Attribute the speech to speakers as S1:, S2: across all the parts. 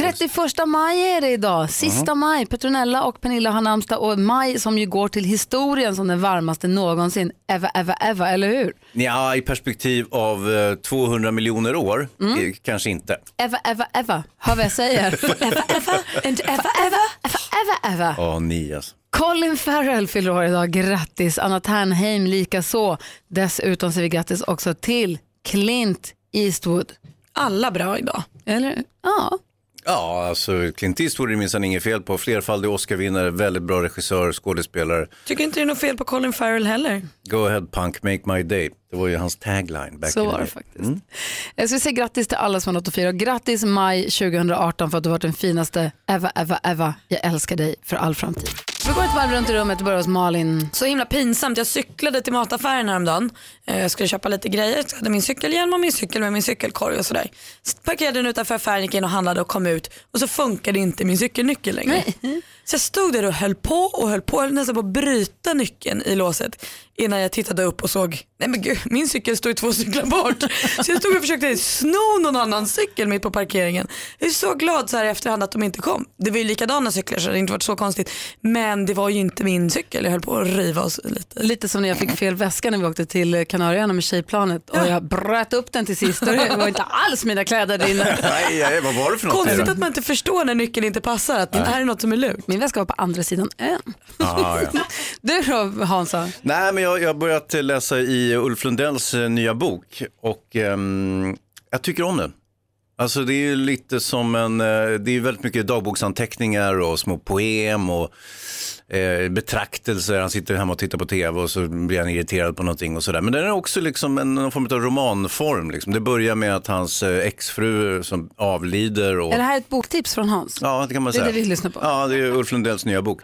S1: Mm. 31 maj är det idag, sista maj. Petronella och Pernilla har namnsdag och maj som ju går till historien som den varmaste någonsin. Eva, Eva, Eva, eller hur?
S2: Ja, i perspektiv av eh, 200 miljoner år,
S1: Mm.
S2: eh, kanske inte.
S1: Eva, Eva, Eva, hör vad jag säger. Eva, Eva, and Eva, Eva, Eva, Eva, Eva.
S2: Ja, ni alltså.
S1: Colin Farrell fyller år idag, grattis. Anna Ternheim likaså. Dessutom säger vi grattis också till Clint Eastwood.
S3: Alla bra idag.
S1: Eller? Ja.
S2: Ja, alltså Clint Eastwood är det minsann inget fel på. Flerfaldig Oscarvinnare, väldigt bra regissör, skådespelare.
S3: Tycker inte det är något fel på Colin Farrell heller.
S2: Go ahead punk, make my day. Det var ju hans tagline back
S1: Så
S2: in the
S1: var det
S2: day. Mm.
S1: faktiskt. Jag ska säga grattis till alla som har något att fira. Och Grattis maj 2018 för att du har varit den finaste Eva, Eva, Eva. Jag älskar dig för all framtid. Vi går ett varv runt i rummet och börjar hos Malin.
S3: Så himla pinsamt. Jag cyklade till mataffären häromdagen. Eh, Jag skulle köpa lite grejer. Jag hade min cykelhjälm och min cykel med min cykelkorg och sådär. Så parkerade den utanför affären, gick in och handlade och kom ut och så funkade inte min cykelnyckel längre. Så jag stod där och höll på och höll på, jag höll nästan på att bryta nyckeln i låset innan jag tittade upp och såg, nej men gud min cykel står ju två cyklar bort. Så jag stod och försökte sno någon annans cykel mitt på parkeringen. Jag är så glad så här i efterhand att de inte kom. Det var ju likadana cyklar så det hade inte varit så konstigt. Men det var ju inte min cykel, jag höll på att riva oss lite.
S1: Lite som när jag fick fel väska när vi åkte till Kanarieöarna med tjejplanet och jag bröt upp den till sist och det var inte alls mina kläder där inne.
S2: Nej, nej, vad var det för något?
S3: Konstigt att man inte förstår när nyckeln inte passar, att det här är något som är lurt.
S1: Min väska var på andra sidan ön.
S2: Ah, ja.
S1: Du då Hansa?
S2: Nej, men jag jag har börjat läsa i Ulf Lundells eh, nya bok och ehm, jag tycker om den. Alltså det är ju lite som en, eh, det är ju väldigt mycket dagboksanteckningar och små poem och eh, betraktelser. Han sitter hemma och tittar på tv och så blir han irriterad på någonting och sådär. Men den är också liksom en, någon form av romanform. Liksom. Det börjar med att hans eh, exfru som avlider. Och...
S1: Är det här ett boktips från Hans?
S2: Ja, det kan man
S1: Det är
S2: säga.
S1: det vi lyssnar på.
S2: Ja, det är Ulf Lundells nya bok.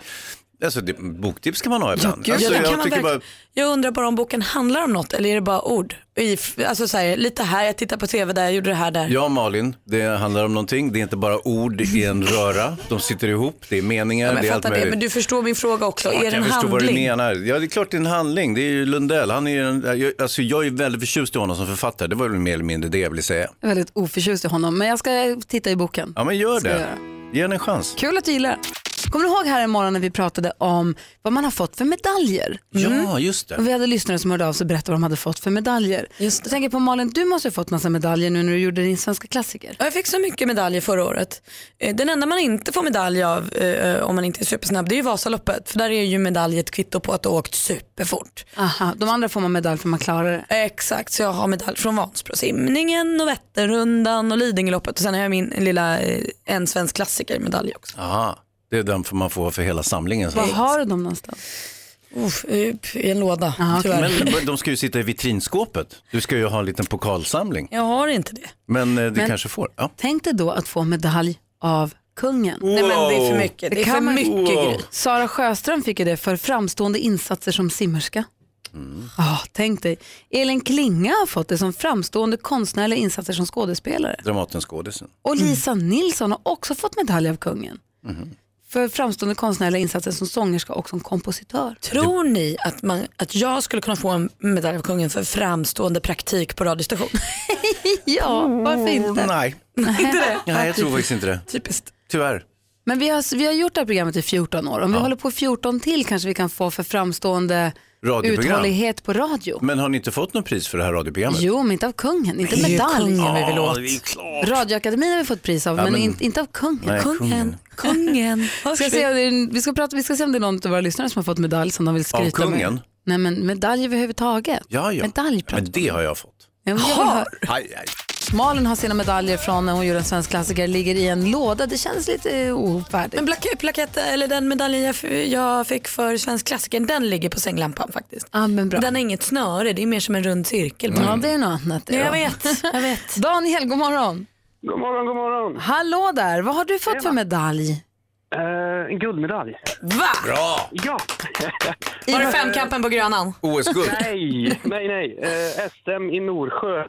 S2: Alltså, det, boktips kan man ha ibland.
S3: Gud,
S2: alltså,
S3: det kan
S2: jag
S3: man
S2: tycker
S3: verkligen-
S2: bara,
S3: jag undrar bara om boken handlar om något eller är det bara ord? I, alltså så här, lite här, jag tittar på tv där, jag gjorde det här där.
S2: Ja, Malin, det handlar om någonting. Det är inte bara ord i en röra. De sitter ihop, det är meningar,
S3: Ja, men
S2: det är
S3: jag
S2: allt
S3: fattar det,
S2: möjligt.
S3: men du förstår min fråga också.
S2: Klart
S3: är det en
S2: jag förstår vad du
S3: handling?
S2: menar. Ja, det är klart det är en handling. Det är ju Lundell. Han är ju en, jag, alltså, jag är väldigt förtjust i honom som författare. Det var väl mer eller mindre det jag ville säga.
S1: Jag är väldigt oförtjust i honom men jag ska titta i boken.
S2: Ja, men gör
S1: Ska jag
S2: det.
S1: göra.
S2: Ge henne en chans.
S1: Kul att du gillar det. Kommer du ihåg här i morgon när vi pratade om vad man har fått för medaljer?
S3: Mm.
S2: Ja, just
S1: Och
S2: det.
S1: vi hade lyssnare som hörde av sig och berättade vad de hade fått för medaljer.
S3: Just
S1: Jag tänker på Malin, du måste ha fått massa medaljer nu när du gjorde din svenska klassiker.
S3: Ja, Jag fick så mycket medaljer förra året. Eh, Den enda man inte får medalj av eh, om man inte är supersnabb det är ju Vasaloppet. För där är ju medalj ett kvitto på att du har åkt superfort.
S1: Aha, de andra får man medalj för man klarar det.
S3: Exakt, så jag har medalj från Vansbrosimningen och Vätternrundan och Lidingöloppet och sen har jag min lilla eh, en svensk klassiker medalj också.
S2: Aha, det är den man får för hela samlingen. så.
S1: Var har du dem någonstans?
S3: Uff, upp I en låda
S1: Ja, okej.
S3: tyvärr.
S2: Men de ska ju sitta i vitrinskåpet. Du ska ju ha en liten pokalsamling.
S3: Jag har inte det.
S2: Men eh, du
S1: Men-
S2: kanske får. Ja.
S1: Tänk dig då att få medalj av kungen.
S3: Nej men det är för mycket. Det, är
S1: kan
S3: för
S1: man-
S3: mycket
S2: Wow.
S3: grej.
S1: Sara Sjöström fick ju det för framstående insatser som simmerska.
S3: Mm.
S1: Ah, tänk dig. Elin Klinga har fått det som framstående konstnärliga insatser som skådespelare.
S2: Dramatenskådisen.
S1: Och
S3: Mm.
S1: Lisa Nilsson har också fått medalj av kungen.
S3: Mm-hmm.
S1: För framstående konstnärliga insatser som sångerska och som kompositör.
S3: Tror ni att, man, att jag skulle kunna få en medalj av kungen för framstående praktik på radiostation?
S1: Ja, varför
S3: Oh.
S1: inte?
S2: Nej.
S3: inte det?
S2: Nej, jag tror faktiskt inte det.
S3: Typiskt.
S2: Tyvärr.
S1: Men vi har, vi har gjort det här programmet i 14 år. Om vi håller på i 14 till kanske vi kan få för framstående
S2: Radioprogram.
S1: uthållighet på radio.
S2: Men har ni inte fått något pris för det här radioprogrammet?
S1: Jo, men inte av kungen. Inte
S3: Det är ju
S1: medalj.
S3: kungen vi vill åt.
S2: det är klart.
S1: Radioakademin har vi fått pris av, men,
S2: men-
S1: inte, inte av kungen.
S2: Nej,
S3: Kungen, kungen.
S1: Ska jag se, om det är- vi, ska prata, vi ska se om det är någon av våra lyssnare som har fått medalj som de vill skryta
S2: Av kungen?
S1: med. Nej, men medalj överhuvudtaget.
S2: Ja,
S1: Medalj
S2: ja. Ja, men
S1: pratar
S2: det har jag fått.
S1: jag vill höra-
S2: Aj, aj.
S1: Malin har sina medaljer från när hon gjorde en svensk klassiker, ligger i en låda. Det känns lite eh, ofärdigt.
S3: Men plak- plakett, eller den medaljen jag, f- jag fick för svensk klassiker, den ligger på sänglampan faktiskt.
S1: Ja, men bra.
S3: Den har inget snöre, det är mer som en rund cirkel. bara.
S1: Ja, det är något annat. det
S3: Mm. Ja,
S1: då.
S3: jag vet, jag vet.
S1: Daniel, god morgon.
S4: God morgon, god morgon.
S1: Hallå där, vad har du fått för medalj?
S4: Eh, en guldmedalj.
S3: Va?
S2: Bra!
S4: Ja!
S3: Var det femkampen på Grönan?
S2: OS-guld.
S4: nej, nej, nej. Eh, SM i Norsjö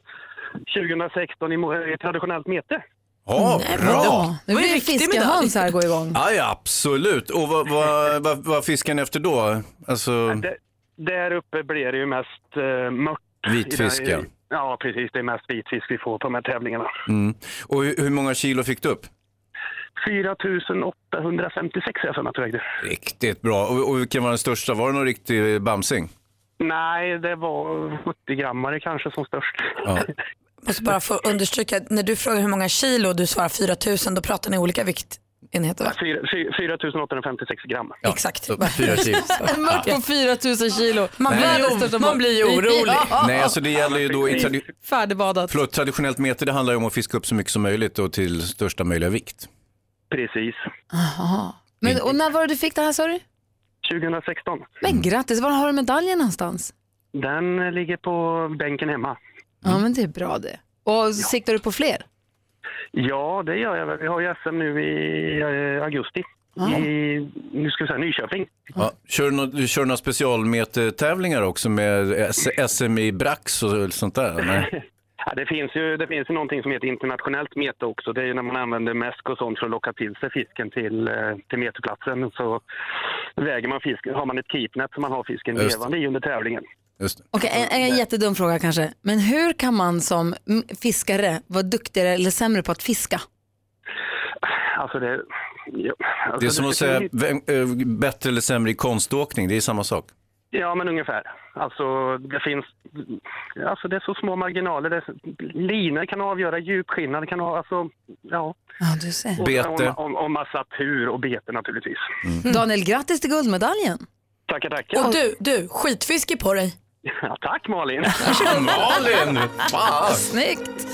S4: 2016 i mo- eh, i traditionellt mete.
S2: Ja, bra!
S1: Nu
S3: var
S1: blir
S3: en
S1: det
S3: riktig
S1: fiskehöns här gå igång.
S2: Ja, ja, absolut. Och vad, vad, vad, vad fiskar ni efter då? Alltså,
S4: D- där uppe blir det ju mest eh, mört.
S2: Vitfiske.
S4: I den- Ja, precis. Det är mest vitfisk vi får på de här tävlingarna.
S2: och hur hur många kilo fick du upp?
S4: 4856 är jag för mig att du vägde.
S2: Riktigt bra. Och, och vilken var den största? Var det någon riktig bamsing?
S4: Nej, det var 70-grammare kanske som störst.
S2: Ja.
S3: Måste bara få understryka, att när du frågar hur många kilo och du svarar 4000 då pratar ni olika viktenheter va?
S4: 4856 gram.
S3: Exakt.
S2: Så, Fyra kilo.
S1: En mört på 4000 kilo.
S3: Man blir,
S1: Världens
S3: ju,
S1: största
S3: man
S1: mört.
S3: blir ju orolig.
S1: Ja,
S2: Nej, alltså det gäller ju då i tradi-
S1: Färdigbadat.
S2: förlåt, traditionellt mete, det handlar ju om att fiska upp så mycket som möjligt och till största möjliga vikt.
S4: Precis.
S1: Men, och när var det du fick det här sa du?
S4: 2016.
S2: Mm.
S1: Men grattis, var har du medaljen någonstans?
S4: Den eh, ligger på bänken hemma.
S1: Ja men det är bra det. Och siktar du på fler?
S4: Ja, det gör jag. väl. Vi har ju SM nu i eh, augusti. I, nu ska vi säga Nyköping.
S2: Ja. Kör du nå- du kör några specialmetetävlingar också med S- SM i brax och sånt där? Nej.
S4: Ja, det, finns ju, det finns ju någonting som heter internationellt mete också. Det är ju när man använder mäsk och sånt för att locka till sig fisken till, eh, till meteplatsen. Så väger man fisken, har man ett keepnet som man har fisken
S2: Just det.
S4: levande i under tävlingen.
S2: Just det.
S1: Okej, en, en jättedum fråga kanske. Men hur kan man som mm, fiskare vara duktigare eller sämre på att fiska?
S4: Alltså det, ja, alltså
S2: Det är som att
S4: finns
S2: säga vem, eh, bättre eller sämre i konståkning, det är samma sak.
S4: Ja, men ungefär. Alltså, det finns... Alltså, det är så små marginaler. Det är... Linor kan avgöra djupskillnad. Det kan ha... Alltså, ja.
S1: Ja, du ser.
S2: Bete.
S4: Och, och, och massa tur och bete naturligtvis.
S1: Daniel, grattis till guldmedaljen.
S4: Tackar, tackar.
S3: Och du, du, skitfiske på dig.
S4: Ja, tack Malin!
S2: Ja, Malin! Fan!
S1: Snyggt!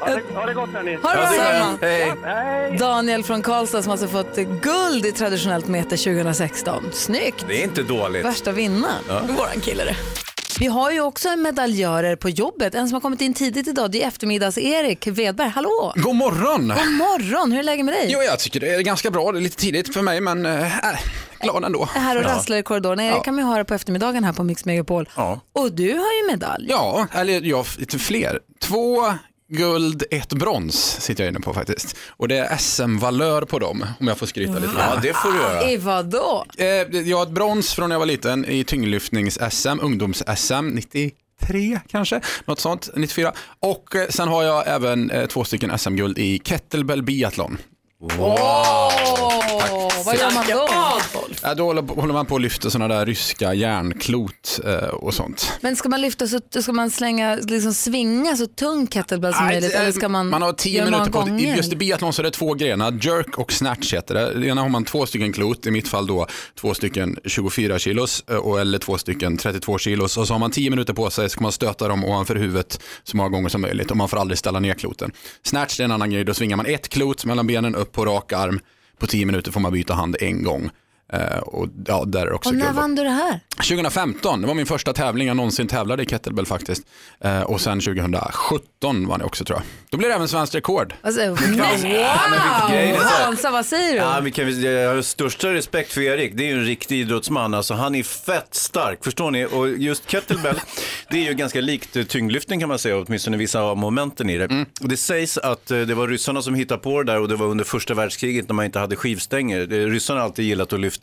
S4: Ha det, ha det gott hörni!
S1: Ha det
S2: Ja, det
S1: bra.
S2: är- Hej!
S4: Hej!
S1: Daniel från Karlstad som alltså fått guld i traditionellt mete 2016. Snyggt!
S2: Det är inte dåligt.
S1: Värsta vinnaren.
S3: Våran kille det.
S1: Vi har ju också medaljörer på jobbet. En som har kommit in tidigt idag det är eftermiddags-Erik Wedberg. Hallå!
S5: God morgon!
S1: God morgon! Hur är läget med dig?
S5: Jo, jag tycker det är ganska bra. Det är lite tidigt för mig, men eh, äh, glad ändå.
S1: är här och rasslar i korridoren. Erik kan man ju höra på eftermiddagen här på Mix Megapol.
S2: Ja.
S1: Och du har ju medalj.
S5: Ja, eller ja, lite fler. Två guld, ett brons sitter jag inne på faktiskt. Och det är SM-valör på dem, om jag får skryta lite. grann.
S2: Ja, det får du göra.
S1: I vadå?
S5: Eh, det- Jag har ett brons från när jag var liten i tyngdlyftnings-SM, ungdoms-SM, 93 kanske, något sånt, 94. Och eh, sen har jag även eh, två stycken SM-guld i kettlebell biathlon.
S1: Åh, vad gör man då?
S5: Eh, Då håller- håller man på och lyfter sådana där ryska järnklot eh, och sånt.
S1: Men ska man lyfta så ska man slänga, liksom svinga så tung kettlebell som
S5: Nej,
S1: möjligt?
S5: det är-
S1: Eller ska man,
S5: man har tio
S1: göra många
S5: minuter på sig.
S1: gånger?
S5: I- Just i biathlon så är det två grenar, jerk och snatch heter det. I ena har man två stycken klot, i mitt fall då två stycken 24 kilos eh, och, eller två stycken 32 kilos. Och så har man tio minuter på sig så ska man stöta dem ovanför huvudet så många gånger som möjligt och man får aldrig ställa ner kloten. Snatch det är en annan grej, då svingar man ett klot mellan benen upp på rak arm. På tio minuter får man byta hand en gång. Eh, och ja, där är det också
S1: Och när
S5: guld.
S1: vann du det här?
S5: 2015, det var min första tävling jag någonsin tävlade i kettlebell faktiskt. Eh, och sen 2017 var det också tror jag. Då blev det även svenskt rekord.
S1: Alltså, nej,
S2: grej det
S1: wow!
S2: är.
S1: Hansa, vad säger du?
S2: Ja, vi kan, jag har största respekt för Erik, det är ju en riktig idrottsman. Alltså, han är fett stark, förstår ni? Och just kettlebell, det är ju ganska likt eh, tyngdlyftning kan man säga, åtminstone vissa av momenten i det. Och det sägs att eh, det var ryssarna som hittade på det där och det var under första världskriget när man inte hade skivstänger. Eh, Ryssarna har alltid gillat att lyfta.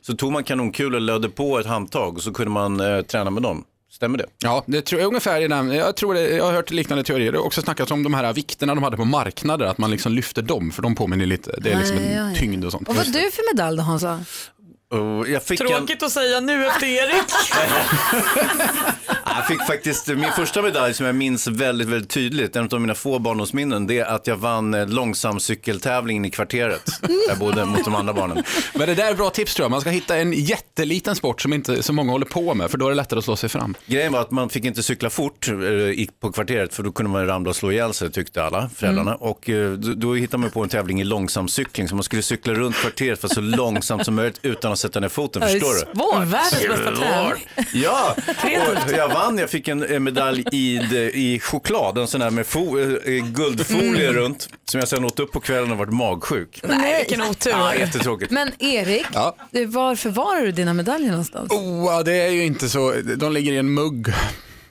S2: Så tog man kanonkulor, lödde på ett handtag och så kunde man eh, träna med dem. Stämmer det?
S5: Ja, det tror jag ungefär i den, jag tror det, jag har hört liknande teorier. Det har också snackats om de här vikterna de hade på marknader, att man liksom lyfter dem för de påminner lite, det är liksom
S1: Aj, aj,
S5: en
S1: aj.
S5: tyngd och sånt.
S1: Och vad är du för medalj då Hansa?
S2: Och jag fick en...
S3: Tråkigt att säga nu efter Erik.
S2: Jag fick faktiskt min första medalj som jag minns väldigt, väldigt tydligt, en av mina få barndomsminnen, det är att jag vann eh, långsamcykeltävlingen i kvarteret. Där jag bodde mot de andra barnen.
S5: Men det där är bra tips tror jag, man ska hitta en jätteliten sport som inte så många håller på med, för då är det lättare att slå sig fram.
S2: Grejen var att man fick inte cykla fort eh, i- på kvarteret för då kunde man ramla och slå ihjäl sig tyckte alla föräldrarna. Och eh, då, då hittade man på en tävling i långsamcykling så man skulle cykla runt kvarteret för så långsamt som möjligt utan att sätta ner foten. Förstår du?
S1: Svår.
S3: Världens bästa tävling.
S2: Ja, Eh, och jag vann vann, jag fick en en medalj i, de- i choklad, en sån här med fo, eh, guldfolie runt, som jag sen åt upp på kvällen och varit magsjuk.
S3: Mm. Nej, vilken otur.
S2: Ah, jättetråkigt.
S1: Men Erik,
S5: Ja.
S1: du, var förvarar du dina medaljer någonstans?
S5: Oh, ja, det är ju inte så. De ligger i en mugg.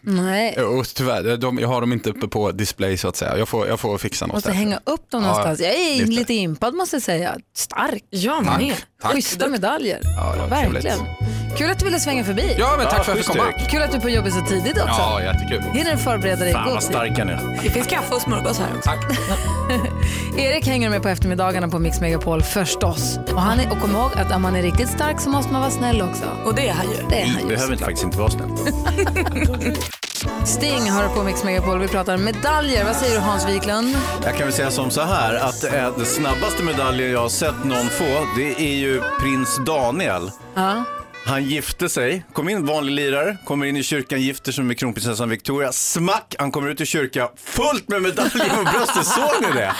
S1: Nej,
S5: Och tyvärr, de, jag har dem inte uppe på display så att säga. Jag får, jag får fixa något.
S1: måste
S5: därför.
S1: hänga upp dem
S5: Ja,
S1: någonstans. Jag är
S5: lite.
S1: lite impad måste jag säga. Stark.
S3: Jag
S5: Tack.
S3: med.
S5: Tack.
S1: Schyssta medaljer.
S5: det var
S1: Verkligen. Kul att du ville svänga förbi.
S5: Ja, men tack
S2: Ja,
S5: för att jag
S2: schysst,
S5: fick komma.
S2: Erik.
S1: Kul att du är på jobbet så tidigt också.
S5: Ja, jättekul.
S1: Hinner du förbereda dig i
S2: Fan
S1: god
S2: vad
S1: tid?
S2: starka ni är.
S3: Det finns kaffe och smörgås här också.
S5: Tack.
S1: Erik hänger med på eftermiddagarna på Mix Megapol förstås. Och, han är, och kom ihåg att om man är riktigt stark så måste man vara snäll också.
S3: Och det är han ju.
S1: Det är han ju.
S2: Behöver inte, faktiskt inte vara snäll.
S1: Sting har du på Mix Megapol. Vi pratar medaljer. Vad säger du Hans Wiklund?
S2: Jag kan väl säga som så här att eh, den snabbaste medaljen jag har sett någon få, det är ju prins Daniel.
S1: Ja.
S2: Han gifte sig, kom in, vanlig lirare, kommer in i kyrkan, gifter sig med kronprinsessan Victoria. Smack! Han kommer ut ur kyrkan fullt med medaljer på bröstet. Såg ni det?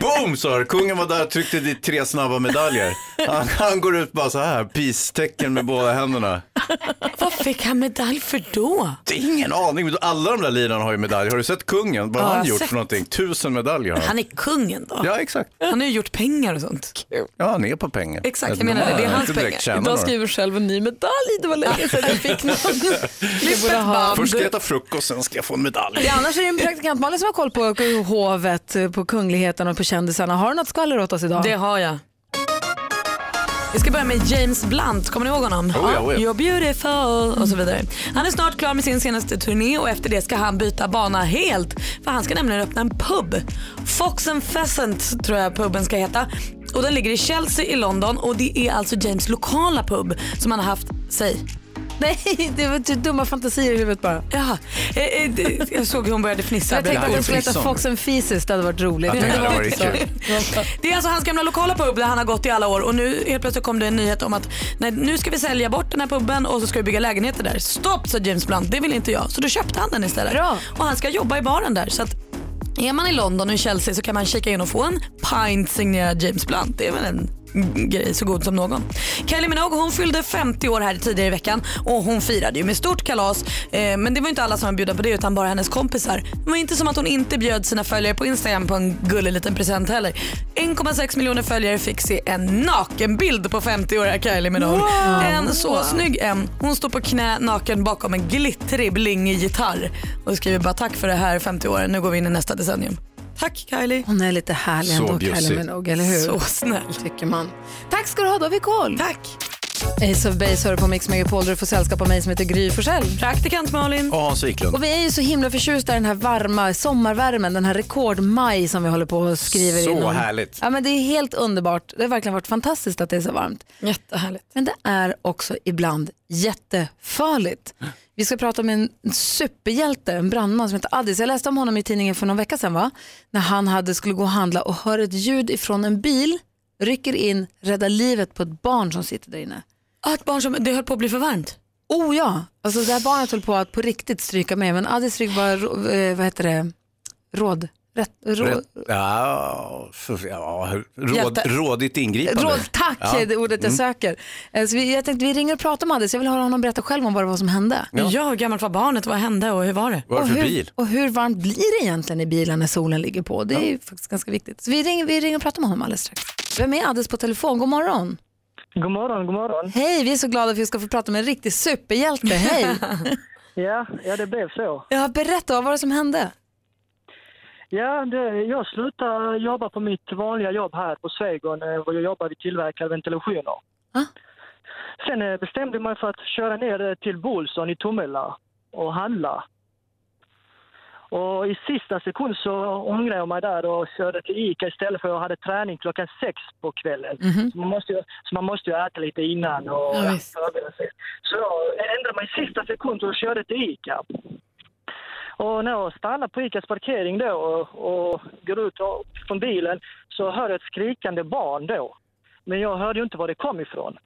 S2: Boom, sa det. Kungen var där och tryckte dit tre snabba medaljer. Han, han går ut bara så här, peace-tecken med båda händerna.
S3: Vad fick han medalj för då?
S2: Det är ingen aning, men alla de där lirarna har ju medaljer. Har du sett kungen? Vad har
S3: Ja, jag
S2: han
S3: har
S2: gjort
S3: sett.
S2: för någonting? Tusen medaljer har han.
S3: Han är kungen då.
S2: Ja, exakt.
S3: Han har ju gjort pengar och sånt.
S2: Ja, han är på pengar. Alltså,
S3: Exakt, jag menar det. Det är hans pengar.
S2: Idag
S1: skriver själv en ny medalj. Det var länge sedan jag fick någon. Det borde ha.
S2: Först ska jag äta frukost, sen ska jag få en medalj.
S1: Det är annars är det en praktikant Malin som har koll på hovet, på kungligheten och på kändisarna. Har du något skvaller åt oss idag?
S3: Det har jag. Vi ska börja med James Blunt, kommer ni ihåg honom?
S2: Oh ja, oh ja.
S3: You're beautiful och så vidare. Han är snart klar med sin senaste turné och efter det ska han byta bana helt. För han ska nämligen öppna en pub. Fox and Pheasant tror jag puben ska heta. Och den ligger i Chelsea i London och det är alltså James lokala pub som han har haft, sig.
S1: Nej, det var typ dumma fantasier i huvudet bara.
S3: Jaha. Eh, eh, d- Jag såg hur hon började fnissa.
S1: Jag tänkte att den skulle heta
S2: Frisson.
S1: Fox and Feces, det hade varit roligt.
S2: det hade
S1: var
S2: varit
S1: inte så.
S2: kul.
S3: Det är alltså hans gamla lokala pub där han har gått i alla år och nu helt plötsligt kom det en nyhet om att nej, nu ska vi sälja bort den här puben och så ska vi bygga lägenheter där. Stopp sa James Blunt, det vill inte jag. Så då köpte han den istället.
S1: Bra.
S3: Och han ska jobba i baren där. Så att är man i London och i Chelsea så kan man kika in och få en pint signerad James Blunt. Det är väl en grej så god som någon. Kylie Minogue hon fyllde 50 år här tidigare i veckan och hon firade ju med stort kalas. Eh, men det var ju inte alla som var bjudna på det utan bara hennes kompisar. Det var inte som att hon inte bjöd sina följare på Instagram på en gullig liten present heller. 1,6 miljoner följare fick se en nakenbild på 50-åriga Kylie Minogue. En så snygg en. Hon står på knä naken bakom en glittrig blingig gitarr och skriver bara tack för det här 50 åren, nu går vi in i nästa decennium. Tack Kylie.
S1: Hon är lite härlig
S2: Så
S1: ändå,
S2: bjussig.
S1: Kylie Minogue, eller hur?
S3: Så snäll.
S1: Tycker man. Tack ska du ha, då har vi koll.
S3: Tack.
S1: Ace of Base hör du på Mix Megapol där du får sällskap av mig som heter Gry Forssell.
S3: Praktikant Malin.
S2: Och Hans Wiklund.
S1: Och vi är ju så himla förtjusta i den här varma sommarvärmen, den här rekordmaj som vi håller på och skriver
S2: Så
S1: in. om.
S2: härligt.
S1: Ja, men det är helt underbart. Det har verkligen varit fantastiskt att det är så varmt.
S3: Jättehärligt.
S1: Men det är också ibland jättefarligt. Vi ska prata om en superhjälte, en brandman som heter Addis. Jag läste om honom i tidningen för någon vecka sedan, va? när han hade, skulle gå och handla och hör ett ljud ifrån en bil, rycker in, räddar livet på ett barn som sitter där inne.
S3: Ah, ett barn som, det höll på att bli för varmt.
S1: Oh ja, alltså det här barnet höll på att på riktigt stryka med, men Addis fick bara, rå- eh, vad heter det, råd, rätt, råd,
S2: Rätt- Ja, för- ja, råd,
S3: Hjälte.
S2: rådigt ingripande.
S1: Råd, tack,
S2: Ja. Mm.
S1: är det ordet jag söker. Eh, Så vi, jag tänkte vi ringer och pratar med Addis, jag vill höra honom berätta själv om vad det var som hände.
S3: Ja. hur gammalt var barnet? Vad hände och hur var det?
S2: Vad är det
S1: och
S2: för
S1: hur,
S2: bil?
S1: Och hur varmt blir det egentligen i bilen när solen ligger på? Det är ju faktiskt ganska viktigt. Så vi ringer, vi ringer och pratar med honom alldeles strax. Vem är Addis på telefon? God morgon.
S6: God morgon, god morgon.
S1: Hej, vi är så glada för att vi ska få prata med en riktig superhjälte. Hej!
S6: Ja, ja det blev så.
S1: ja, berätta, vad var det som hände?
S6: Ja, det, jag slutade jobba på mitt vanliga jobb här på Swegon. eh, och Jag jobbade i tillverkade ventilationer.
S1: Ah.
S6: Sen eh, bestämde jag mig för att köra ner eh, till Bolson i Tomella och handla. Och i sista sekund så ångrade jag mig där och körde till Ica istället för jag hade träning klockan sex på kvällen. Så, man måste ju, så man måste ju äta lite innan och
S1: Mhm. Ja, visst.
S6: förbereda sig. Så jag ändrade mig i sista sekund och körde till Ica. Och när jag stannar på Icas parkering då och, och går ut och- från bilen så hör jag ett skrikande barn då. Men jag hörde ju inte var det kom ifrån.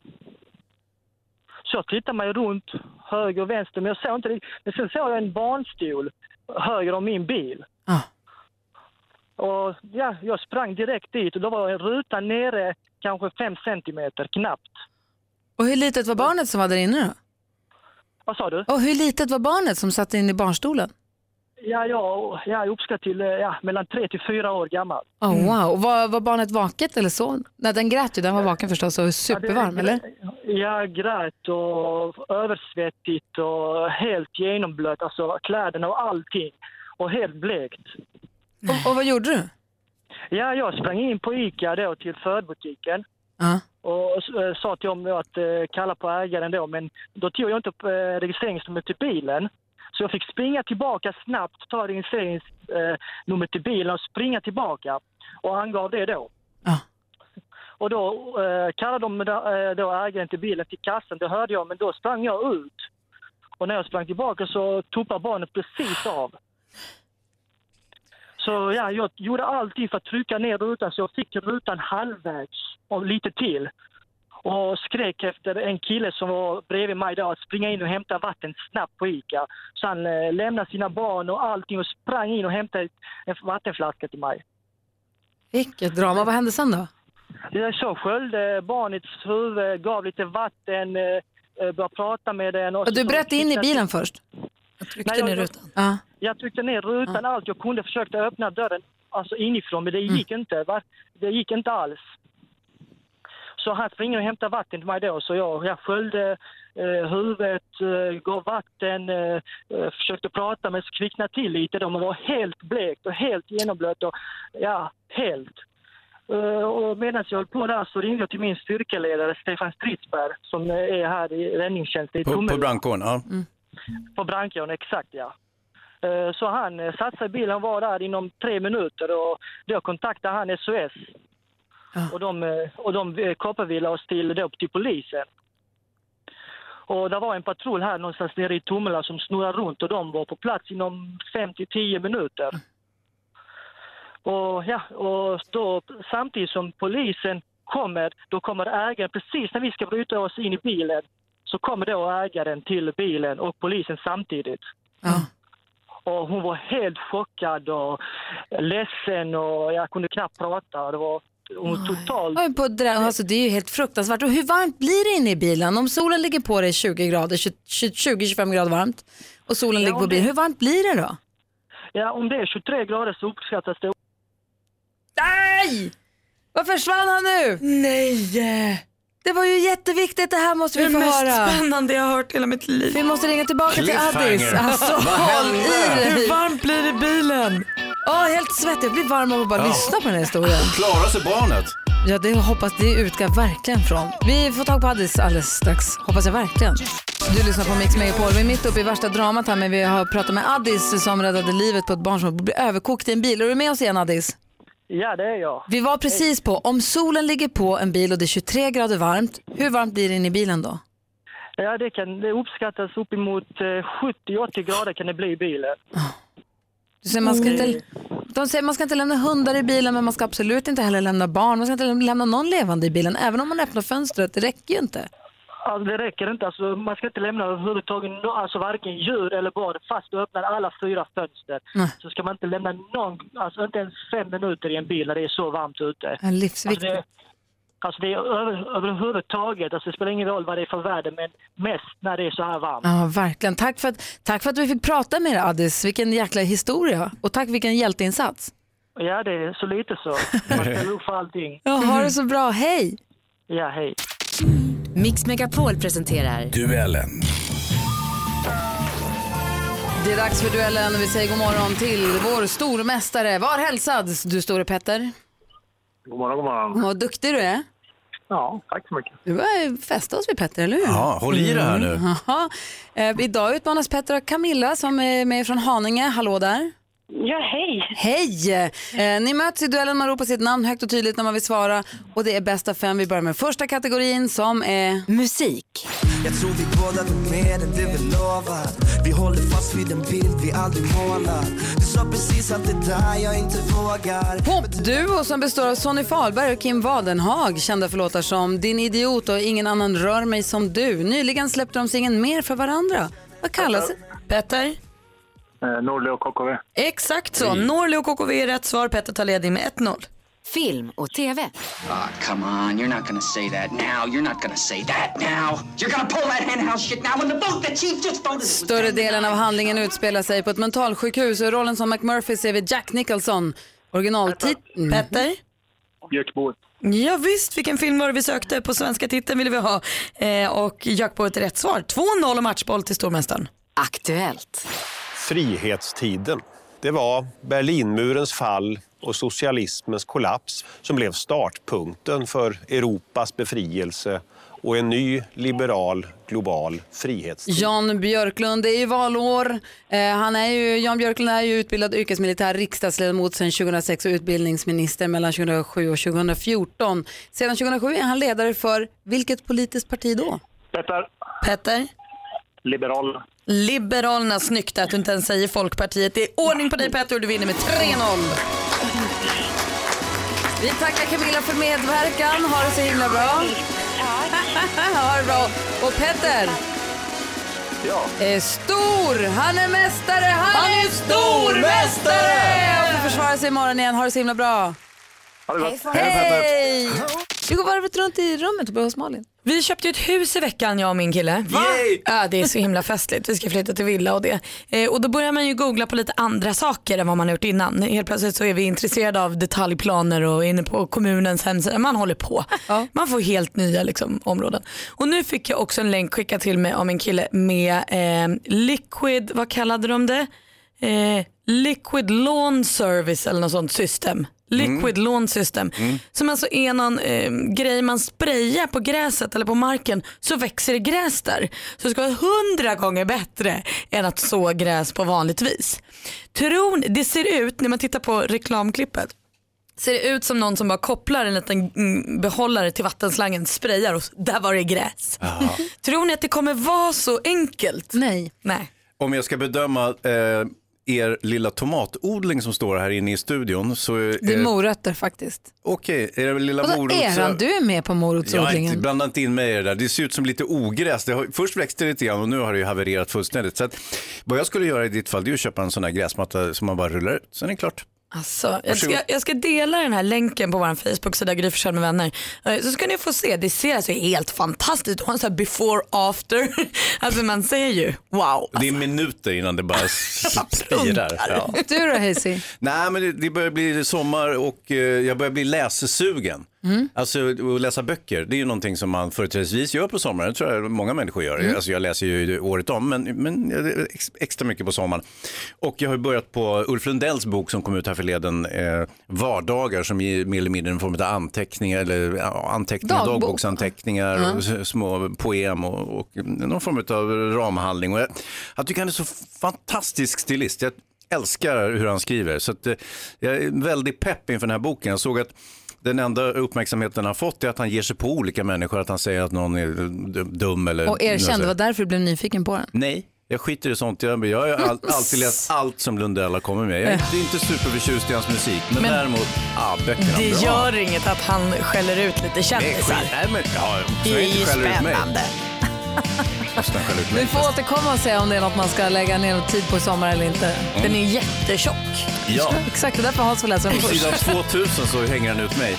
S6: Så jag tittar mig runt höger och vänster men jag såg inte riktigt. Men sen såg jag en barnstol höger om min bil.
S1: Ah.
S6: Och ja, jag sprang direkt dit och då var en ruta nere kanske fem centimeter knappt.
S1: Och hur litet var barnet som var där inne då?
S6: Vad sa du?
S1: Och hur litet var barnet som satt in i barnstolen?
S6: Ja, ja, jag uppskattar till eh, ja, mellan tre till fyra år gammal.
S1: Oh, wow. Och var, var barnet vaket eller så? Nej, den grät ju, den var vaken förstås och supervarm, eller?
S6: Jag grät och översvettigt och helt genomblöt, alltså kläderna och allting. Och helt blekt.
S1: Och, och vad gjorde du?
S6: Ja, jag sprang in på ICA då till förbutiken
S1: Ja.
S6: och eh, sa till dem då att eh, kalla på ägaren då, men då tog jag inte upp eh, registreringsnumret till bilen. Så jag fick springa tillbaka snabbt, ta registreringsnumret till bilen och springa tillbaka. Och han gav det då.
S1: Ja.
S6: Och då eh, kallade de eh, då ägaren till bilen till kassan, det hörde jag, men då sprang jag ut. Och när jag sprang tillbaka så tuppade barnet precis av. Så ja, jag gjorde allting för att trycka ner rutan så jag fick rutan halvvägs och lite till. Och skrek efter en kille som var bredvid mig då att springa in och hämta vatten snabbt på ICA. Så han eh, lämnade sina barn och allting och sprang in och hämtade en vattenflaska till mig.
S1: Vilket drama. Vad hände sen då?
S6: Jag så sköljde barnets huvud, gav lite vatten, eh, eh, började prata med den. Och
S1: Ja, Du
S6: så-
S1: bröt dig in i bilen först?
S3: Jag
S6: Nej,
S3: tryckte
S6: jag-
S3: ner rutan.
S1: Ja.
S6: Jag tryckte ner
S2: Ah.
S6: rutan, allt jag kunde, försökte öppna dörren alltså inifrån, men det
S2: Mm.
S6: gick inte. Va? Det gick inte alls. Så han springer och hämtar vatten till mig då, så jag, jag sköljde eh, huvudet, eh, gav vatten, eh, eh, försökte prata men kvicknade till lite då. Man var helt blekt och helt genomblöt och ja, helt. Eh, och medan jag höll på där så ringde jag till min styrkeledare Stefan Stridsberg som eh, är här i räddningstjänsten i
S2: På, på
S6: Tomelilla.
S2: brandkåren, ja.
S6: Mm. På Brankan, exakt ja. Eh, Så han eh, satte sig i bilen och var där inom tre minuter och då kontaktade han SOS. Och de, eh, och de eh, kopplade oss till, då, till polisen. Och det var en patrull här någonstans nere i Tomela som snurrade runt och de var på plats inom 5-10 minuter. Och, ja, och då, samtidigt som polisen kommer, då kommer ägaren, precis när vi ska bryta oss in i bilen, så kommer då ägaren till bilen och polisen samtidigt.
S1: Ja.
S6: Och hon var helt chockad och ledsen och jag kunde knappt prata. Det var hon
S2: Mm.
S6: var totalt...
S1: Oj, på det, där, alltså, det är ju helt fruktansvärt. Och hur varmt blir det inne i bilen? Om solen ligger på dig 20 grader, 20-25 grader varmt och solen ligger på
S6: om det-
S1: bilen, hur varmt blir det då?
S6: Ja, om det är 23 grader så uppskattas det.
S1: Nej! Vad försvann han nu?
S3: Nej! eh,
S1: Det var ju jätteviktigt, det här måste
S3: Det är
S1: vi
S3: det
S1: få
S3: mest
S1: höra.
S3: spännande jag har hört i hela mitt liv.
S1: Vi måste ringa tillbaka till Addis.
S2: Cliffhanger.
S1: Alltså, håll i dig.
S3: Hur varmt blir det i bilen?
S1: Åh, helt svettig, jag blir varm av att bara
S2: Ja.
S1: lyssna på den här historien.
S2: Klarar sig barnet?
S1: Ja, det hoppas det utgår jag verkligen från. Vi får tag på Addis alldeles strax, hoppas jag verkligen. Du lyssnar på Mix Megapol. Vi är mitt uppe i värsta dramat här, men vi har pratat med Addis som räddade livet på ett barn som blev överkokt i en bil. Är du med oss igen Addis?
S6: Ja, det är jag.
S1: Vi var precis på, om solen ligger på en bil och det är 23 grader varmt, hur varmt blir det inne i bilen då?
S6: Ja, det, kan, det uppskattas uppemot eh, 70-80 grader kan det bli i bilen.
S1: Du säger, man ska inte, de säger man ska inte lämna hundar i bilen, men man ska absolut inte heller lämna barn. Man ska inte lämna någon levande i bilen, även om man öppnar fönstret. Det räcker ju inte.
S6: Alltså, det räcker inte. Alltså, man ska inte lämna överhuvudtaget no- alltså, varken djur eller barn fast du öppnar alla fyra fönster. Så ska man inte lämna någon, alltså inte ens fem minuter i en bil när det är så varmt ute.
S1: Det är livsviktigt.
S6: Alltså det, alltså det är över, överhuvudtaget, alltså det spelar ingen roll vad det är för väder, men mest när det är så här varmt.
S1: Ja, verkligen. Tack för, att, tack för att vi fick prata med dig, Addis. Vilken jäkla historia. Och tack vilken hjälteinsats.
S6: Ja, det är så lite så. Man ställer upp för allting.
S1: Ja, ha det så bra. Hej!
S6: Ja, hej.
S7: Mix Megapol presenterar
S2: Duellen.
S1: Det är dags för duellen. Vi säger god morgon till vår stormästare. Var hälsad, du store Petter.
S4: God morgon, god morgon.
S1: Vad duktig du är.
S4: Ja, tack så mycket.
S1: Du börjar fästa oss vid Petter, eller hur?
S2: Ja, håll i det här nu.
S6: Mm.
S1: Jaha. Eh, idag utmanas Petter av Camilla som är med från Haninge. Hallå där.
S8: Ja, hej.
S1: Hej! Eh, ni möts i duellen, man ropar sitt namn högt och tydligt när man vill svara. Och det är bästa fem. Vi börjar med första kategorin som är...
S7: musik.
S9: Jag tror vi båda vet mer än det vi lovat Vi håller fast vid en bild vi aldrig målat Du sa precis att det där jag inte vågar
S1: Popduo som består av Sonny Fahlberg och Kim Wadenhag, kända för låtar som Din idiot och Ingen annan rör mig som du. Nyligen släppte de singeln Mer för varandra. Vad kallas
S3: Petter? Mm.
S4: Eh, Norli och KKV.
S3: Exakt så. Norli och KKV är rätt svar. Petter tar ledning med 1-0.
S7: Film och TV.
S8: Ah, come on. You're not gonna say that now. You're not gonna say that now. You're gonna pull that henhouse shit now. In the book, the chief just voted. it was
S1: Större delen av handlingen utspelar sig på ett mentalsjukhus och rollen som McMurphy ser vi Jack Nicholson. Originaltit...
S3: Petter?
S4: Gökboet.
S3: Mm. Ja, visst, vilken film var det vi sökte? På svenska titeln ville vi ha. Eh, och jackpot är rätt svar. 2-0 och matchboll till stormästaren.
S7: Aktuellt.
S10: Frihetstiden. Det var Berlinmurens fall och socialismens kollaps som blev startpunkten för Europas befrielse och en ny liberal global frihetstid.
S1: Jan Björklund, det är ju valår. Eh, han är ju, Jan Björklund är ju utbildad yrkesmilitär riksdagsledamot sedan 2006 och utbildningsminister mellan 2007 och 2014. Sedan 2007 är han ledare för vilket politiskt parti då?
S4: Petter.
S3: Petter?
S4: Liberal.
S3: Liberalerna, snyggt att du inte ens säger Folkpartiet. Det är ordning på dig Petter och du vinner med 3-0.
S1: Vi tackar Camilla för medverkan. Ha det så himla bra. ha det bra. Och Petter är stor. Han är mästare. Han,
S9: Han är
S1: är stormästare! Och får försvara sig imorgon igen. Ha det så himla bra. Hej! Vi går varvet runt i rummet och börjar hos Malin.
S3: Vi köpte ju ett hus i veckan jag och min kille. Va? Ja, det är så himla festligt. Vi ska flytta till villa och det. Eh, och då börjar man ju googla på lite andra saker än vad man har gjort innan. Helt plötsligt så är vi intresserade av detaljplaner och är inne på kommunens hemsida. Man håller på. Man får helt nya liksom, områden. Och nu fick jag också en länk skickad till mig av min kille med eh, liquid, vad kallade de det? Eh, liquid lawn service eller något sånt system. Liquid lawn system. Som alltså är någon eh, grej man sprayar på gräset eller på marken så växer det gräs där. Så det ska vara hundra gånger bättre än att så gräs på vanligt vis. Tror ni, det ser ut, när man tittar på reklamklippet, ser det ut som någon som bara kopplar en liten mm, behållare till vattenslangen, sprayar och s- där var det gräs. Tror ni att det kommer vara så enkelt?
S1: Nej.
S3: Nej.
S2: Om jag ska bedöma eh, er lilla tomatodling som står här inne i studion så... Eh,
S1: Det är morötter faktiskt.
S2: Okej, är det lilla
S1: Vadå
S2: morots...
S1: eran? Du är med på
S2: Ja, inte-
S1: morotsodlingen.
S2: blanda inte in mig i det där. Det ser ut som lite ogräs. Det har, först växte det lite grann och nu har det ju havererat fullständigt. Så att, vad jag skulle göra i ditt fall det är att köpa en sån här gräsmatta som man bara rullar ut. Sen är det klart.
S3: Alltså, jag, ska,
S2: Varsågod.
S3: jag ska dela den här länken på vår Facebook-sida Gry Forssell med vänner. Eh, Så ska ni få se, det ser alltså helt fantastiskt ut. Och en sån här before after. Alltså man ser ju wow.
S2: Det
S1: Alltså.
S2: är minuter innan det bara s- spirar. Ja.
S1: Du då Hazy?
S2: Nej, men det, det börjar bli sommar och eh, jag börjar bli läsesugen.
S1: Mm.
S2: Alltså att läsa böcker, det är ju någonting som man företrädesvis gör på sommaren. Det tror jag många människor gör.
S11: Mm.
S2: Alltså jag läser ju året om, men, men jag- ex, extra mycket på sommaren. Och jag har ju börjat på Ulf Lundells bok som kom ut här förleden, eh, Vardagar, som är mer eller mindre en form av anteckningar, eller ja, anteckningar,
S11: Dagbok.
S2: dagboksanteckningar,
S11: Mm.
S2: och s- små poem och, och någon form av ramhandling. Och jag, jag tycker han är så fantastisk stilist. Jag, älskar hur han skriver. Så att, eh, jag är väldigt pepp inför den här boken. Jag såg att den enda uppmärksamheten han har fått är att han ger sig på olika människor, att han säger att någon är d- dum eller...
S1: Och erkände, det var därför du blev nyfiken på den.
S2: Nej, jag skiter i sånt. Jag, jag har ju all, alltid läst allt som Lundell har kommit med. Jag är inte- inte superförtjust i hans musik, men,
S3: Men-
S2: däremot, ja, böckerna
S3: Det
S2: bra.
S3: gör inget att han skäller ut lite
S2: Det är skit.
S3: kändisar.
S2: Nej, men, ja, så
S3: Det är
S2: inte
S3: ju
S2: skäller ut mig. Mm.
S3: spännande.
S2: Måste han skälla ut mig.
S1: Vi får återkomma och se om det är något man ska lägga ner tid på i sommar eller inte.
S2: Den
S3: är jättetjock.
S2: Ja,
S1: Exakt, det är därför Hans får läsa den
S2: på sidan
S1: först.
S2: 2000 så hänger han ut mig.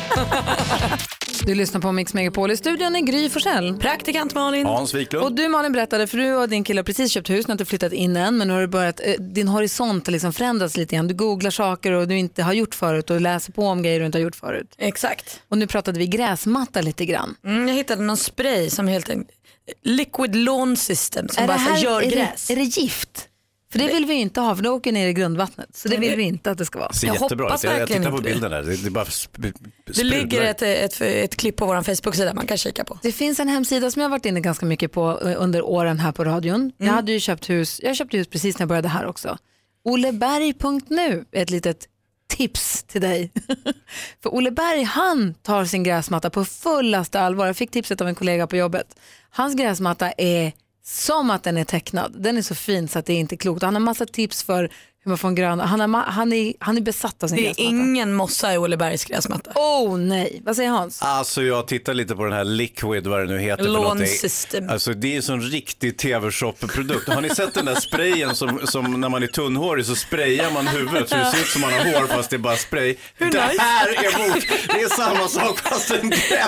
S1: Du lyssnar på Mix Megapol. I studion är Gry Forssell.
S3: Praktikant Malin.
S2: Hans Wiklund.
S1: Och du Malin berättade, för du och din kille har precis köpt hus, ni har inte flyttat in än, men nu har du börjat, eh, din horisont har liksom förändrats lite grann. Du googlar saker och du inte har gjort förut och läser på om grejer du inte har gjort förut.
S3: Exakt.
S1: Och nu pratade vi gräsmatta lite grann.
S3: Mm, jag hittade någon spray som helt enkelt, liquid lawn system som bara så här gör
S1: är,
S3: gräs.
S1: Det, är det gift? För det vill vi ju inte ha, för det åker ner i grundvattnet. Så det vill vi inte att det ska vara.
S2: Ser jättebra ut. Jag, jag tittar på bilden där. Det, det bara sp-
S3: Det
S2: sprudlar.
S3: ligger ett, ett, ett klipp på vår Facebook-sida man kan kika på.
S1: Det finns en hemsida som jag har varit inne ganska mycket på eh, under åren här på radion. Jag
S3: Mm.
S1: hade ju köpt hus, jag köpte hus precis när jag började här också. Oleberg.nu är ett litet tips till dig. För Olle Berg, han tar sin gräsmatta på fullaste allvar. Jag fick tipset av en kollega på jobbet. Hans gräsmatta är som att den är tecknad. Den är så fin så att det är inte klokt. Och Han har massa tips för hur man får en grön. Han är, ma- han är, han är besatt av sin
S3: Det är
S1: gräsmatta.
S3: ingen mossa i Ålebergs gräsmatta.
S1: Oh nej, vad säger Hans?
S2: Alltså jag tittar lite på den här Liquid, vad det nu heter. för
S3: Lawn
S2: någonting.
S3: system.
S2: Alltså det är en sån riktig tv-shop-produkt. Har ni sett den där sprayen som, som när man är tunnhårig så sprayar man huvudet så det ser ut som man har hår fast det är bara spray.
S11: Hur
S2: det
S11: nice.
S2: här är bok, det är samma sak fast en gräsmatta.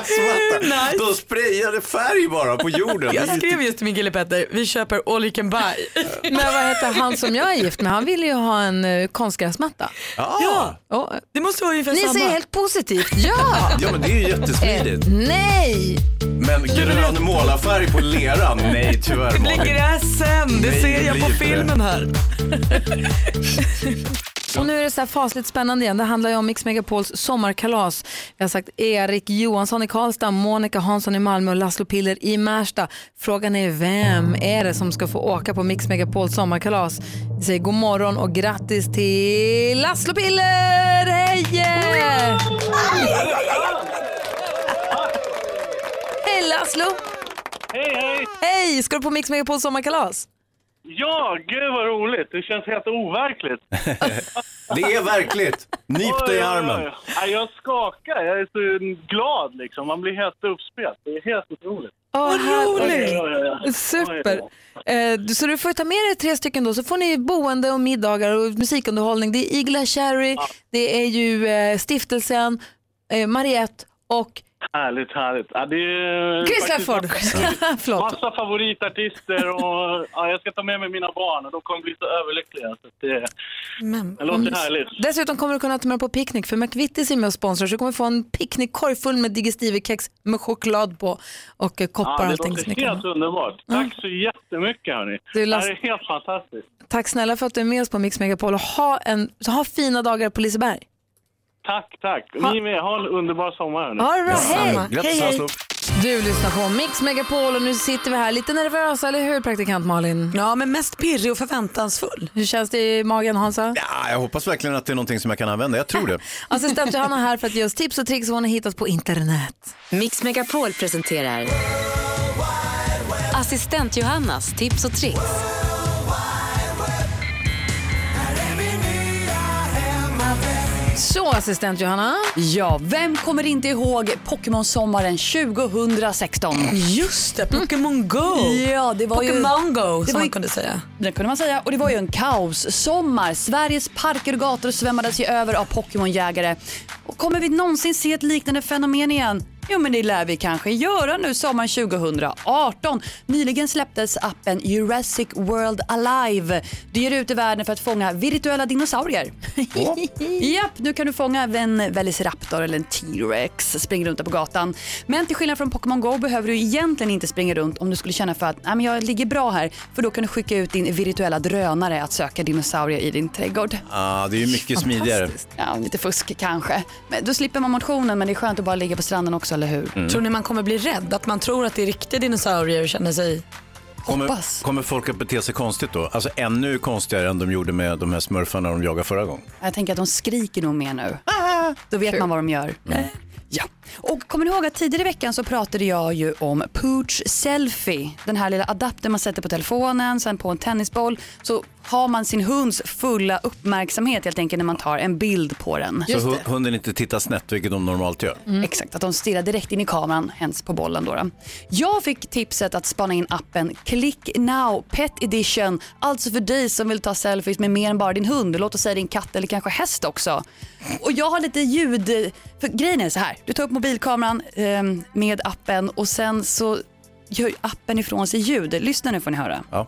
S3: nice.
S2: De sprayade färg bara på jorden.
S3: Jag skrev just till min kille Petter, vi köper all you can buy.
S1: Men vad heter han som jag är gift med? Han ville ju ha en uh, konstgräsmatta.
S2: Ja.
S1: Och-
S3: Det måste vara ungefär
S1: Ni
S3: samma.
S1: säger helt positivt, ja!
S2: Ja men det är ju jättesmidigt.
S1: Eh, nej!
S2: Men grön målarfärg på leran, nej tyvärr
S3: Det blir
S2: Malin.
S3: gräsen, det
S2: Nej,
S3: ser
S2: det
S3: jag på
S2: blir inte
S3: filmen
S2: det.
S3: här.
S1: Och nu är det så här fasligt spännande igen. Det handlar ju om Mix Megapols sommarkalas. Vi har sagt Erik Johansson i Karlstad, Monica Hansson i Malmö och Laszlo Piller i Märsta. Frågan är vem är det som ska få åka på Mix Megapols sommarkalas? Vi säger god morgon och grattis till Laszlo Piller! Hej! Hej Laszlo!
S12: Hej, hej!
S1: Hej! Ska du på Mix Megapols sommarkalas?
S12: Ja, gud vad roligt. Det känns helt overkligt.
S2: Det är verkligt. Nyp dig i
S12: Oj, oj, oj.
S2: armen.
S12: Ja, jag skakar. Jag är så glad liksom. Man blir helt uppspelt. Det är helt otroligt.
S1: Åh, Vad här- roligt.
S12: Oj, oj, oj, oj.
S1: Super!
S12: Oj,
S1: Eh, du- så du får ta med dig tre stycken då, så får ni boende och middagar och musikunderhållning. Det är Igla Cherry, det är ju eh, stiftelsen, eh, Mariette och
S12: Härligt, härligt. Ja, det är
S1: Chris
S12: faktiskt
S1: Lafford.
S12: massa-
S1: Förlåt.
S12: Massa favoritartister och ja, jag ska ta med mig mina barn och de kommer bli så överlyckliga. Så att det,
S3: Mm.
S1: Men,
S12: det låter härligt.
S1: Dessutom kommer du kunna ta med dig på picknick för McVittys är med och sponsrar så du kommer få en picknickkorg full med digestivekex med choklad på och eh, koppar och
S12: ja, det
S1: allting. som ni
S12: låter
S1: kan ha.
S12: helt underbart. Tack så jättemycket hörni.
S1: Du,
S12: Det
S1: Lasse-
S12: här är helt fantastiskt.
S1: Tack snälla för att du är med oss på Mix Megapol och ha, en, så ha fina dagar på Liseberg.
S12: Tack, tack. Ni med. Ha en underbar sommar. hörni.
S1: Ha det bra, hej! Du lyssnar på Mix Megapol och nu sitter vi här lite nervösa, eller hur praktikant Malin?
S3: Ja, men mest pirrig och förväntansfull.
S1: Hur känns det i magen Hansa?
S2: Ja, jag hoppas verkligen att det är någonting som jag kan använda. Jag tror det.
S1: Assistent Johanna här för att ge oss tips och tricks som hon har hittat på internet.
S7: Mix Megapol presenterar Assistent Johannas tips och tricks.
S1: Så assistent Johanna.
S13: Ja, vem kommer inte ihåg Pokémon-sommaren 2016?
S3: Just det, Pokémon Go.
S13: Ja, det var
S3: Pokémon
S13: ju...
S3: Go,
S13: det
S3: som
S13: var
S3: man kunde säga.
S13: Det kunde man säga. Och det var ju en kaossommar. Sveriges parker och gator svämmades ju över av Pokémonjägare. Och kommer vi någonsin se ett liknande fenomen igen? Jo, men det lär vi kanske göra nu sommaren 2018. Nyligen släpptes appen Jurassic World Alive. Du ger dig ut i världen för att fånga virtuella dinosaurier. Japp, nu kan du fånga en Velociraptor eller en T-Rex. Spring runt där på gatan. Men till skillnad från Pokémon Go behöver du egentligen inte springa runt om du skulle känna för att Nej, men jag ligger bra här. För då kan du skicka ut din virtuella drönare att söka dinosaurier i din trädgård.
S2: Ah, det är ju mycket smidigare.
S13: Ja, lite fusk kanske. Men då slipper man motionen men det är skönt att bara ligga på stranden också, eller hur?
S2: Mm. Tror
S3: ni man kommer bli rädd? Att man tror att det är riktiga dinosaurier och känner sig...
S2: Kommer, kommer folk att bete sig konstigt då? Alltså ännu konstigare än de gjorde med de här smurfarna de jagade förra gången.
S13: Jag tänker att de skriker nog mer nu.
S1: Ah,
S13: Då vet man vad de gör. Ja. Och kommer ni ihåg att tidigare i veckan så pratade jag ju om Pooch Selfie. Den här lilla adaptern man sätter på telefonen, sen på en tennisboll. Så har man sin hunds fulla uppmärksamhet helt enkelt när man tar en bild på den.
S2: Så hu- hunden inte tittar snett, vilket de normalt gör.
S1: Mm.
S13: Exakt, att de stirrar direkt in i kameran, hens på bollen. Då, då. Jag fick tipset att spana in appen Click Now Pet Edition. Alltså för dig som vill ta selfies med mer än bara din hund. Låt oss säga din katt eller kanske häst också. Och jag har lite ljud... För grejen är så här, du tar upp mobilkameran ehm, med appen och sen så gör ju appen ifrån sig ljud. Lyssna nu får ni höra.
S2: Ja.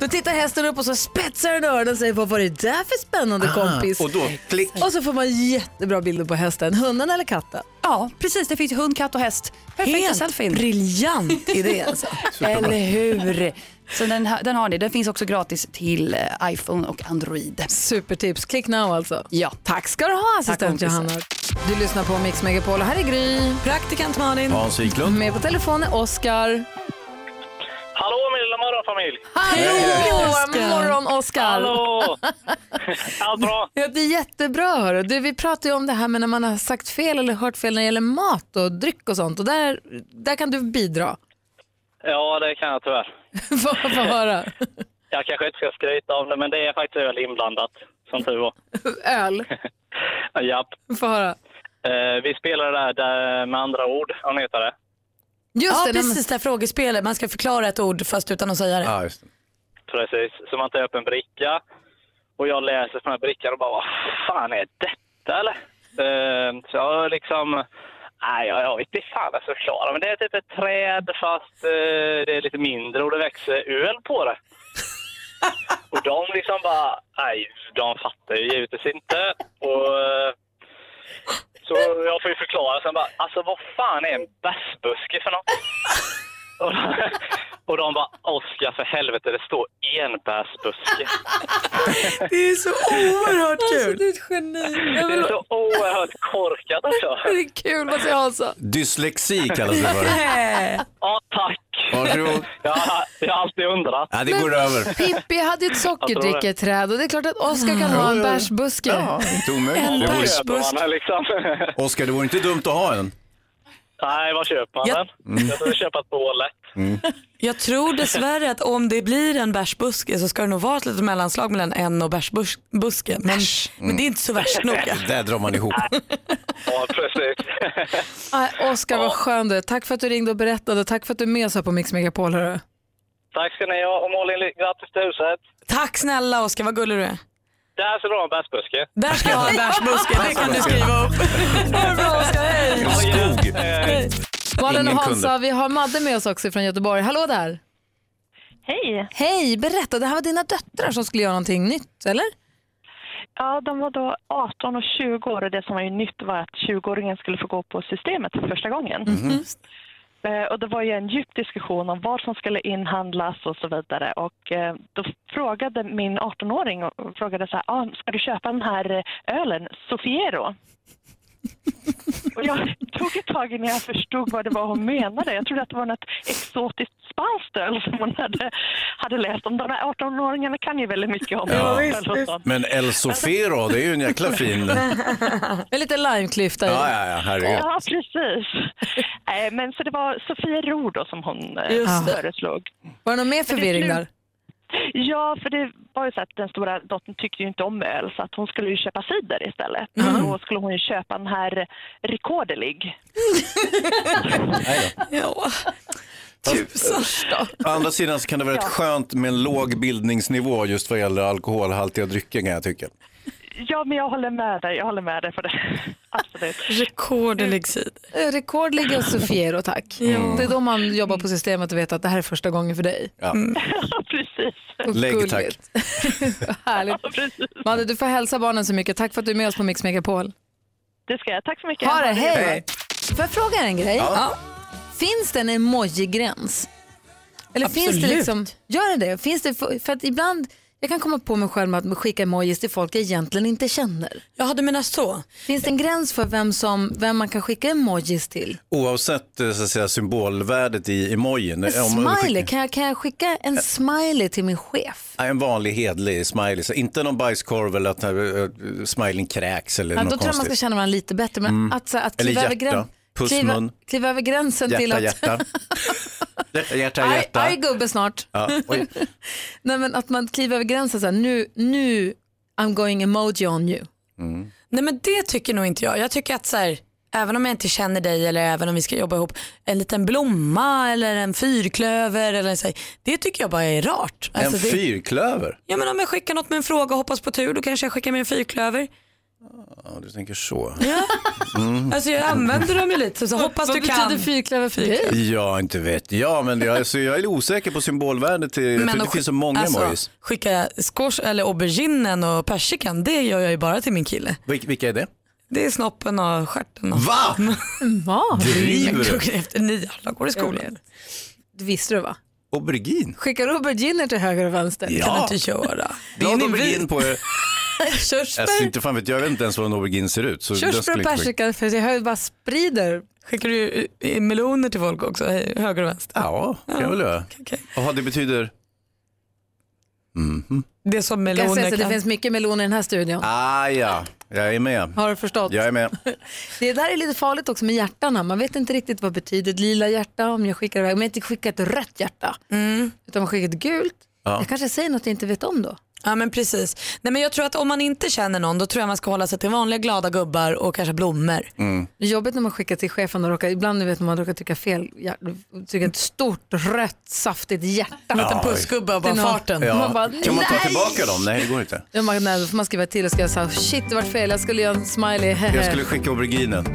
S1: Då tittar hästen upp och så spetsar den öronen och säger vad var det där för spännande kompis?
S2: och då, klick.
S1: Och så får man jättebra bilder på hästen, hunden eller katten.
S13: Ja, precis. Det finns hund, katt och häst. Perfekta
S1: Helt
S13: selfien.
S3: briljant idé, alltså.
S13: Eller hur? Så den, ha- den har ni. Den finns också gratis till eh, iPhone och Android.
S1: Supertips. Click now alltså.
S13: Ja.
S1: Tack ska du ha assistent
S13: kompisar.
S1: Johanna. Du lyssnar på Mix Megapol och här är Gry.
S3: Praktikant Malin.
S2: Hans Wiklund.
S1: Med på telefon är Oskar.
S12: Hallå min lilla morgonfamilj!
S1: God morgon Oskar.
S12: Hallå! Allt bra?
S1: Ja, det är jättebra. Hörru. Du, vi pratade ju om det här med när man har sagt fel eller hört fel när det gäller mat och dryck och sånt. Och där, där kan du bidra.
S12: Ja, det kan jag tyvärr.
S1: Få få höra.
S11: Jag kanske inte ska skryta om det, men det är faktiskt öl inblandat, som tur var.
S1: Öl.
S11: Japp.
S1: Få höra.
S11: Eh, vi spelar det där, där med andra ord, om ni heter det.
S3: ja, precis det här frågespelet. Man ska förklara ett ord fast utan att säga det.
S2: Ja, just
S11: Precis, så man tar upp en bricka och jag läser från den här brickan och bara vad fan är detta eller? Eh, så jag liksom, nej jag, jag vet inte fan vad jag ska förklara men det är typ ett träd fast eh, det är lite mindre och det växer öl på det. och de liksom bara, nej de fattar ju givetvis inte. Och, eh, så jag får ju förklara sen bara, alltså vad fan är en bärsbuske för något? Och de, och de bara, Oskar för helvete det står enbärsbuske.
S3: Det är så oerhört kul.
S1: Alltså, du är ett geni. Jag
S11: Det är
S1: vill...
S11: så oerhört korkat också.
S1: Det är kul vad jag Hansa.
S2: Dyslexi kallas det för.
S11: Ja, tack.
S2: Varsågod.
S11: Jag, har- jag har alltid undrat.
S2: Ja, det går över.
S1: Pippi hade ju ett sockerdricketräd och det är klart att Oskar kan ha en bärsbuske.
S2: Inte
S1: En
S2: omöjligt.
S1: bärsbuske.
S11: Liksom.
S2: Oskar, det vore inte dumt att ha en.
S11: Nej, vad köper man den?
S14: Mm.
S11: Jag skulle köpa ett bålet.
S3: Jag tror dessvärre att om det blir en bärsbuske så ska det nog vara ett litet mellanslag mellan en och bärsbuske. Men, men det är inte så värst
S1: Mm.
S3: noga.
S2: Det där drar man ihop.
S11: Ja, precis.
S1: Nej, Oskar, vad skön du är. Tack för att du ringde och berättade och tack för att du är med oss här på Mix Megapol. Hörru.
S11: Tack ska ni ha och Malin, ly- grattis till huset.
S3: Tack snälla Oskar, vad gullig du är.
S11: Där ska du ha en bärsbuske.
S3: Där ska jag ha en bärsbuske, det kan du skriva upp. Ha det bra Oskar, hej!
S2: skog.
S3: Hej.
S1: Malin och
S3: Ingen
S1: Hansa,
S3: kunde.
S1: vi har Madde med oss också från Göteborg. Hallå där!
S15: Hej!
S1: Hej! Berätta, det här var dina döttrar som skulle göra någonting nytt, eller?
S15: Ja, de var då 18 och 20 år och det som var ju nytt var att 20-åringen skulle få gå på systemet för första gången. Eh, Och det var ju en djup diskussion om vad som skulle inhandlas och så vidare. Och eh, då frågade min 18-åring och frågade så här, ah, ska du köpa den här eh, ölen, Sofiero? Och jag tog ett tag innan jag förstod vad det var hon menade. Jag trodde att det var något exotiskt spanskt öl som hon hade, hade läst om. De här 18-åringarna kan ju väldigt mycket om
S2: Ja.
S15: öl och sånt.
S2: Men El Sofero, det är ju en jäkla fin...
S1: Med lite limeklyfta i.
S2: Ja, ja, ja, herregud.
S15: Ja, precis. Eh, Men så det var Sofia Ro då som hon eh,
S1: Just det.
S15: föreslog.
S1: Var det någon mer
S15: Men det
S1: förvirring
S15: slut-
S1: där?
S15: Ja, för det var ju så att den stora dottern tyckte ju inte om öl så att hon skulle ju köpa cider istället. Och då skulle hon ju köpa den här Rikodelig.
S3: ja. Tusan då.
S2: Å andra sidan så kan det vara rätt
S15: Ja.
S2: skönt med en låg bildningsnivå just vad gäller alkoholhaltiga drycker kan jag tycka.
S15: Ja, men jag håller med dig. Jag håller med dig för det. Absolut.
S3: Rekordelig cider.
S1: Eh, Rekordliga Sofiero, tack.
S3: Ja.
S1: Det är då man jobbar på systemet och vet att det här är första gången för dig.
S2: Ja.
S1: Och
S2: Lägg tack.
S1: gulligt. Härligt. Madde, du får hälsa barnen så mycket. Tack för att du är med oss på Mix Megapol.
S15: Det ska jag. Tack så mycket.
S1: Ha det, hej!
S15: Hej.
S1: Får jag fråga er en grej? Ja. Finns det en emoji-gräns? Eller finns det
S15: Absolut.
S1: liksom, gör det det? Finns det för, för att ibland, jag kan komma på mig själv med att skicka emojis till folk jag egentligen inte känner.
S3: Ja, du menar så?
S1: Finns det en gräns för vem, som, vem man kan skicka emojis till?
S2: Oavsett eh, så att säga, symbolvärdet i emojin.
S1: En
S2: Om- om-
S1: smiley, kan jag, kan jag skicka en smiley till min chef?
S2: Nej, En vanlig hedlig smiley, så inte någon bajskorv eller att eh, eh, smileyn kräks eller
S1: Ja, då tror
S2: något
S1: jag man ska
S2: konstigt.
S1: känna varandra lite bättre. Men
S2: Mm.
S1: att, så, att
S2: Eller
S1: kliva, över
S2: hjärta.
S1: grän,
S2: Puss,
S1: kliva,
S2: mun.
S1: kliva över gränsen till
S2: Hjärta,
S1: att...
S2: hjärta. hjärta, hjärta,
S1: Aj,
S2: hjärta.
S1: aj gubbe snart.
S2: Ja, oj.
S1: Nej, men att man kliver över gränsen så här, nu, nu I'm going emoji on you.
S3: Nej men det tycker nog inte jag. Jag tycker att så här, även om jag inte känner dig eller även om vi ska jobba ihop, en liten blomma eller en fyrklöver eller så här, det tycker jag bara är rart.
S2: En
S3: Alltså, det-
S2: fyrklöver?
S3: Ja men om jag skickar något med en fråga och hoppas på tur då kanske jag skickar med en fyrklöver.
S2: Ja, du tänker så.
S3: Ja.
S2: Mm.
S3: Alltså jag använder dem ju lite så, så hoppas
S1: Vad
S3: du kan.
S1: betyder fyrklöver för dig?
S2: Ja, inte vet jag, men jag, alltså, jag är osäker på symbolvärdet. Till, jag tror det
S3: att
S2: finns så
S3: sk-
S2: många
S3: alltså,
S2: emojis.
S3: Skicka skors eller auberginen och persikan, det gör jag ju bara till min kille.
S2: Vil- vilka är det?
S3: Det är snoppen och stjärten. Och...
S2: Va?
S1: Va?
S2: Driver du?
S3: Jag tog det efter nio, alla går i
S1: Jag
S3: skolan.
S1: Det visste du va?
S2: Aubergine?
S1: Skickar du auberginer till höger och vänster?
S2: Ja.
S1: Kan
S3: du inte göra.
S2: Glad aubergine på er. Alltså,
S1: Körsbär,
S2: inte fan vet, jag Jag vet inte ens vad en aubergine ser ut. Så den
S1: körsbär
S2: skulle
S1: och
S2: inte-
S1: persika, för jag hör ju bara sprider.
S3: Skickar du eh, meloner till folk också, höger och vänster? Ah,
S2: Ja, kan jag väl göra. Jaha, det betyder? Mhm.
S3: Det är som
S1: Jag kan
S3: meloner
S1: säga så, det
S3: kan...
S1: finns mycket meloner i den här studion.
S2: Ah, ja. Jag är med.
S1: Har du förstått?
S2: Jag är med.
S1: Det där är lite farligt också med hjärtarna. Man vet inte riktigt vad betyder ett lila hjärta om jag skickar iväg. Om jag inte skickar ett rött hjärta
S3: Mm.
S1: utan man skickar ett gult.
S3: Ja.
S1: Jag kanske säger något jag inte vet om då.
S3: Ja men precis. Nej, men jag tror att om man inte känner någon då tror jag man ska hålla sig till vanliga glada gubbar och kanske blommor.
S7: Mm.
S1: Det är jobbigt när man skickar till chefen och råkar, ibland du vet man man råkar trycka fel, hjär- trycka ett stort rött saftigt hjärta.
S3: En liten pussgubbe och bara
S1: Det är någon-
S3: farten.
S2: Ja.
S1: Man bara,
S2: Kan man ta
S1: nej!
S2: tillbaka dem? Nej, det går inte.
S1: Ja, man, nej, då får man skriva till och skriva så här, shit det vart fel, jag skulle göra en smiley. hehe."
S2: Jag skulle skicka auberginen.